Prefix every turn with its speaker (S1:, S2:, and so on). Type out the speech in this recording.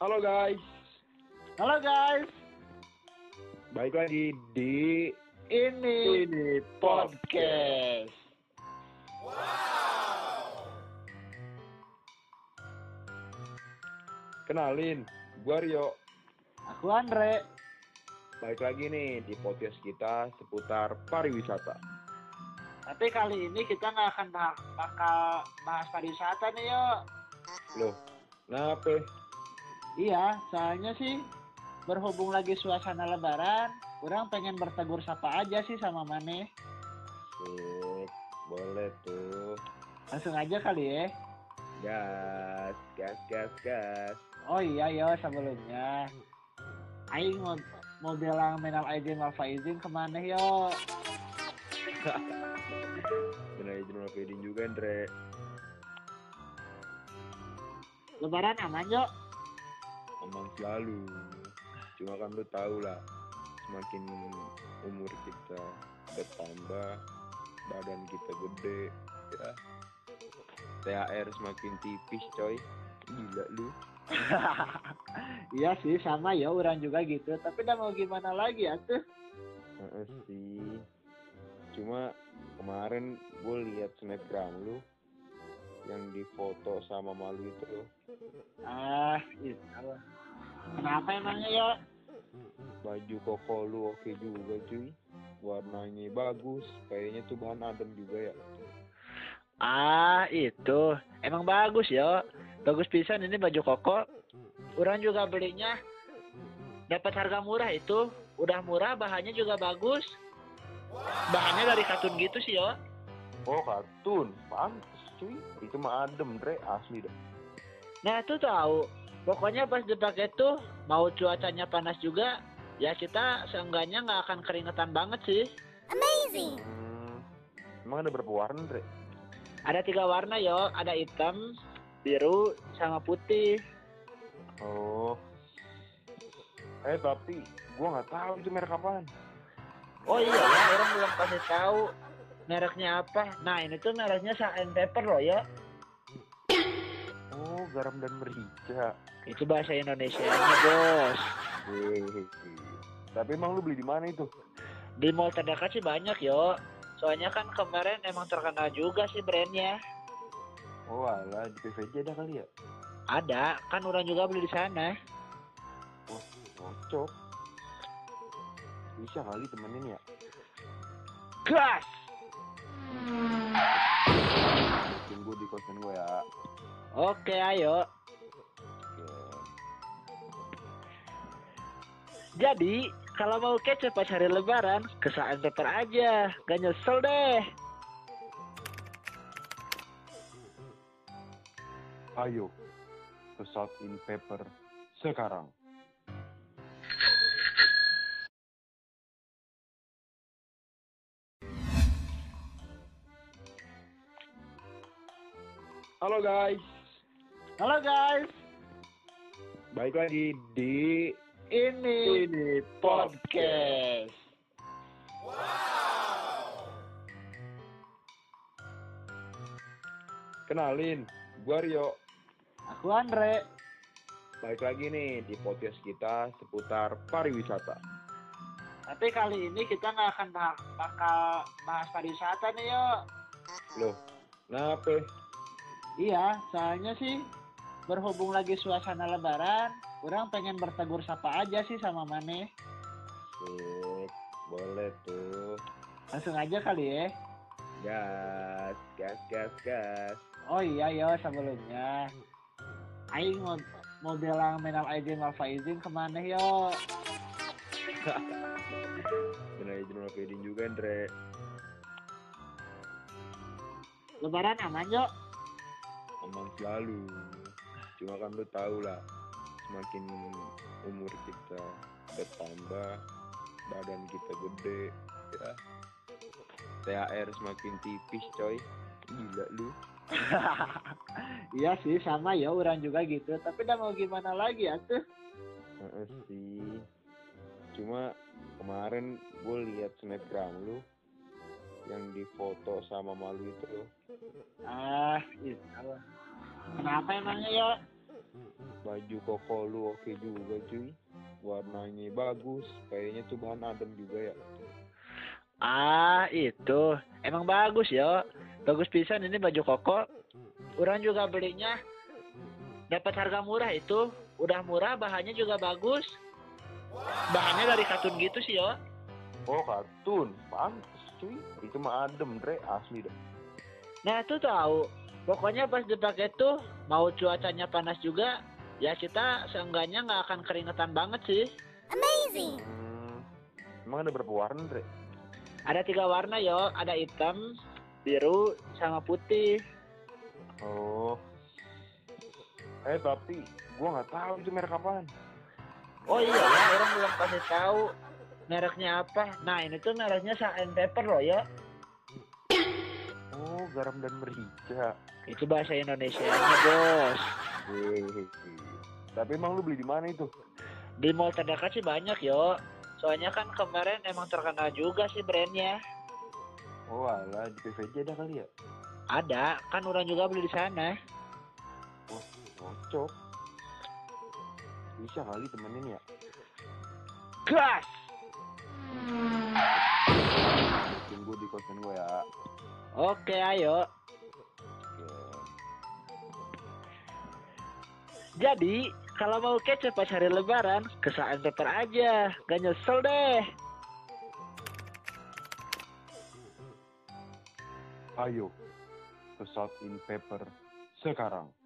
S1: Halo guys,
S2: Halo guys,
S1: balik lagi di
S2: ini
S1: ini
S2: podcast.
S1: Kenalin, gua Rio.
S2: Aku Andre.
S1: Balik lagi nih di podcast kita seputar pariwisata.
S2: Tapi kali ini kita nggak akan bah- bakal bahas pariwisata nih yo.
S1: Loh, kenapa?
S2: Iya, soalnya sih berhubung lagi suasana Lebaran, kurang pengen bertegur sapa aja sih sama Mane.
S1: Sip, boleh tuh.
S2: Langsung aja kali ya.
S1: Gas, gas, gas, gas.
S2: Oh iya yo sebelumnya, Aing mau, mau bilang menal aidin wal faizin kemana yo?
S1: Benar izin sama Fedin juga, Andre.
S2: Lebaran aman yo?
S1: Aman selalu. Cuma kan lu tau lah, semakin umur kita bertambah, badan kita gede, ya. THR semakin tipis, coy. Gila lu.
S2: iya sih sama ya orang juga gitu. Tapi udah mau gimana lagi ya tuh?
S1: Heeh sih. Cuma kemarin gue lihat snapgram lu yang difoto sama malu itu loh.
S2: Ah, iya. Allah. Kenapa emangnya ya?
S1: Baju koko lu oke juga cuy. Warnanya bagus, kayaknya tuh bahan adem juga ya.
S2: Ah, itu. Emang bagus ya. Bagus pisan ini baju koko. Orang juga belinya dapat harga murah itu. Udah murah, bahannya juga bagus. Bahannya dari katun gitu sih yo.
S1: Oh kartun, pantes cuy. Itu mah adem, Dre, asli deh.
S2: Nah, itu tahu. Pokoknya pas dipakai tuh mau cuacanya panas juga, ya kita seenggaknya nggak akan keringetan banget sih.
S1: Hmm, emang ada berapa warna, Dre?
S2: Ada tiga warna yo, ada hitam, biru, sama putih.
S1: Oh. Eh tapi gua nggak tahu itu merek apaan.
S2: Oh iya, ya, orang belum pasti tahu mereknya apa. Nah ini tuh mereknya salt and pepper loh ya.
S1: Oh, garam dan merica.
S2: Itu bahasa Indonesia bos.
S1: Hehehe. Tapi emang lu beli di mana itu?
S2: Di mall terdekat sih banyak yo. Soalnya kan kemarin emang terkenal juga sih brandnya.
S1: Oh alah, di PVJ ada kali ya?
S2: Ada, kan orang juga beli di sana.
S1: Wah, cocok. Bisa kali temenin ya?
S2: Gas!
S1: Tunggu di kosan gue ya.
S2: Oke, ayo.
S1: Oke.
S2: Jadi, kalau mau kece pas hari lebaran, ke salt and pepper aja. Gak nyesel deh.
S1: Ayo, ke Salt in Pepper sekarang. Halo guys,
S2: Halo guys,
S1: balik lagi di
S2: ini
S1: ini
S2: podcast.
S1: Kenalin, gua Rio.
S2: Aku Andre.
S1: Balik lagi nih di podcast kita seputar pariwisata.
S2: Tapi kali ini kita nggak akan bah- bakal bahas pariwisata nih yo.
S1: Loh, kenapa?
S2: Iya, soalnya sih berhubung lagi suasana Lebaran, kurang pengen bertegur sapa aja sih sama Mane.
S1: Sip, boleh tuh.
S2: Langsung aja kali ya.
S1: Gas, gas, gas, gas.
S2: Oh iya yo sebelumnya, Aing mau, mau bilang menal aidin wal faizin kemana yo?
S1: Benar izin sama Fedin juga, Andre.
S2: Lebaran aman yo?
S1: Aman selalu. Cuma kan lu tau lah, semakin umur kita bertambah, badan kita gede, ya. THR semakin tipis, coy. Gila lu.
S2: iya sih sama ya orang juga gitu. Tapi udah mau gimana lagi ya tuh?
S1: Heeh sih. Cuma kemarin gue lihat snapgram lu yang difoto sama malu itu loh.
S2: Ah, iya. Allah. Kenapa emangnya yo?
S1: Baju koko lu oke juga cuy. Warnanya bagus, kayaknya tuh bahan adem juga ya.
S2: Ah, itu. Emang bagus ya. Bagus pisan ini baju koko. Orang juga belinya dapat harga murah itu. Udah murah, bahannya juga bagus. Bahannya dari katun gitu sih yo.
S1: Oh kartun, pantes cuy. Itu mah adem Dre, asli deh.
S2: Nah, tuh tahu. Pokoknya pas dipakai tuh mau cuacanya panas juga, ya kita seenggaknya nggak akan keringetan banget sih.
S1: Hmm, emang ada berapa warna Dre?
S2: Ada tiga warna yo, ada hitam, biru, sama putih.
S1: Oh. Eh tapi gua nggak tahu itu merek apaan.
S2: Oh iya, ya, orang belum kasih tahu mereknya apa. Nah ini tuh mereknya salt and pepper loh ya.
S1: Oh garam dan merica.
S2: Itu bahasa Indonesia bos.
S1: Hehehe. Tapi emang lu beli di mana itu?
S2: Di mall terdekat sih banyak yo. Soalnya kan kemarin emang terkenal juga sih brandnya.
S1: Oh alah di PVJ ada kali ya.
S2: Ada, kan orang juga beli di sana.
S1: Wah cocok. Bisa kali temenin ya.
S2: Gas!
S1: Tunggu di kosan gua ya.
S2: Oke, ayo.
S1: Oke.
S2: Jadi, kalau mau kece pas hari lebaran, ke salt and pepper aja. Gak nyesel deh.
S1: Ayo ke salt in pepper sekarang.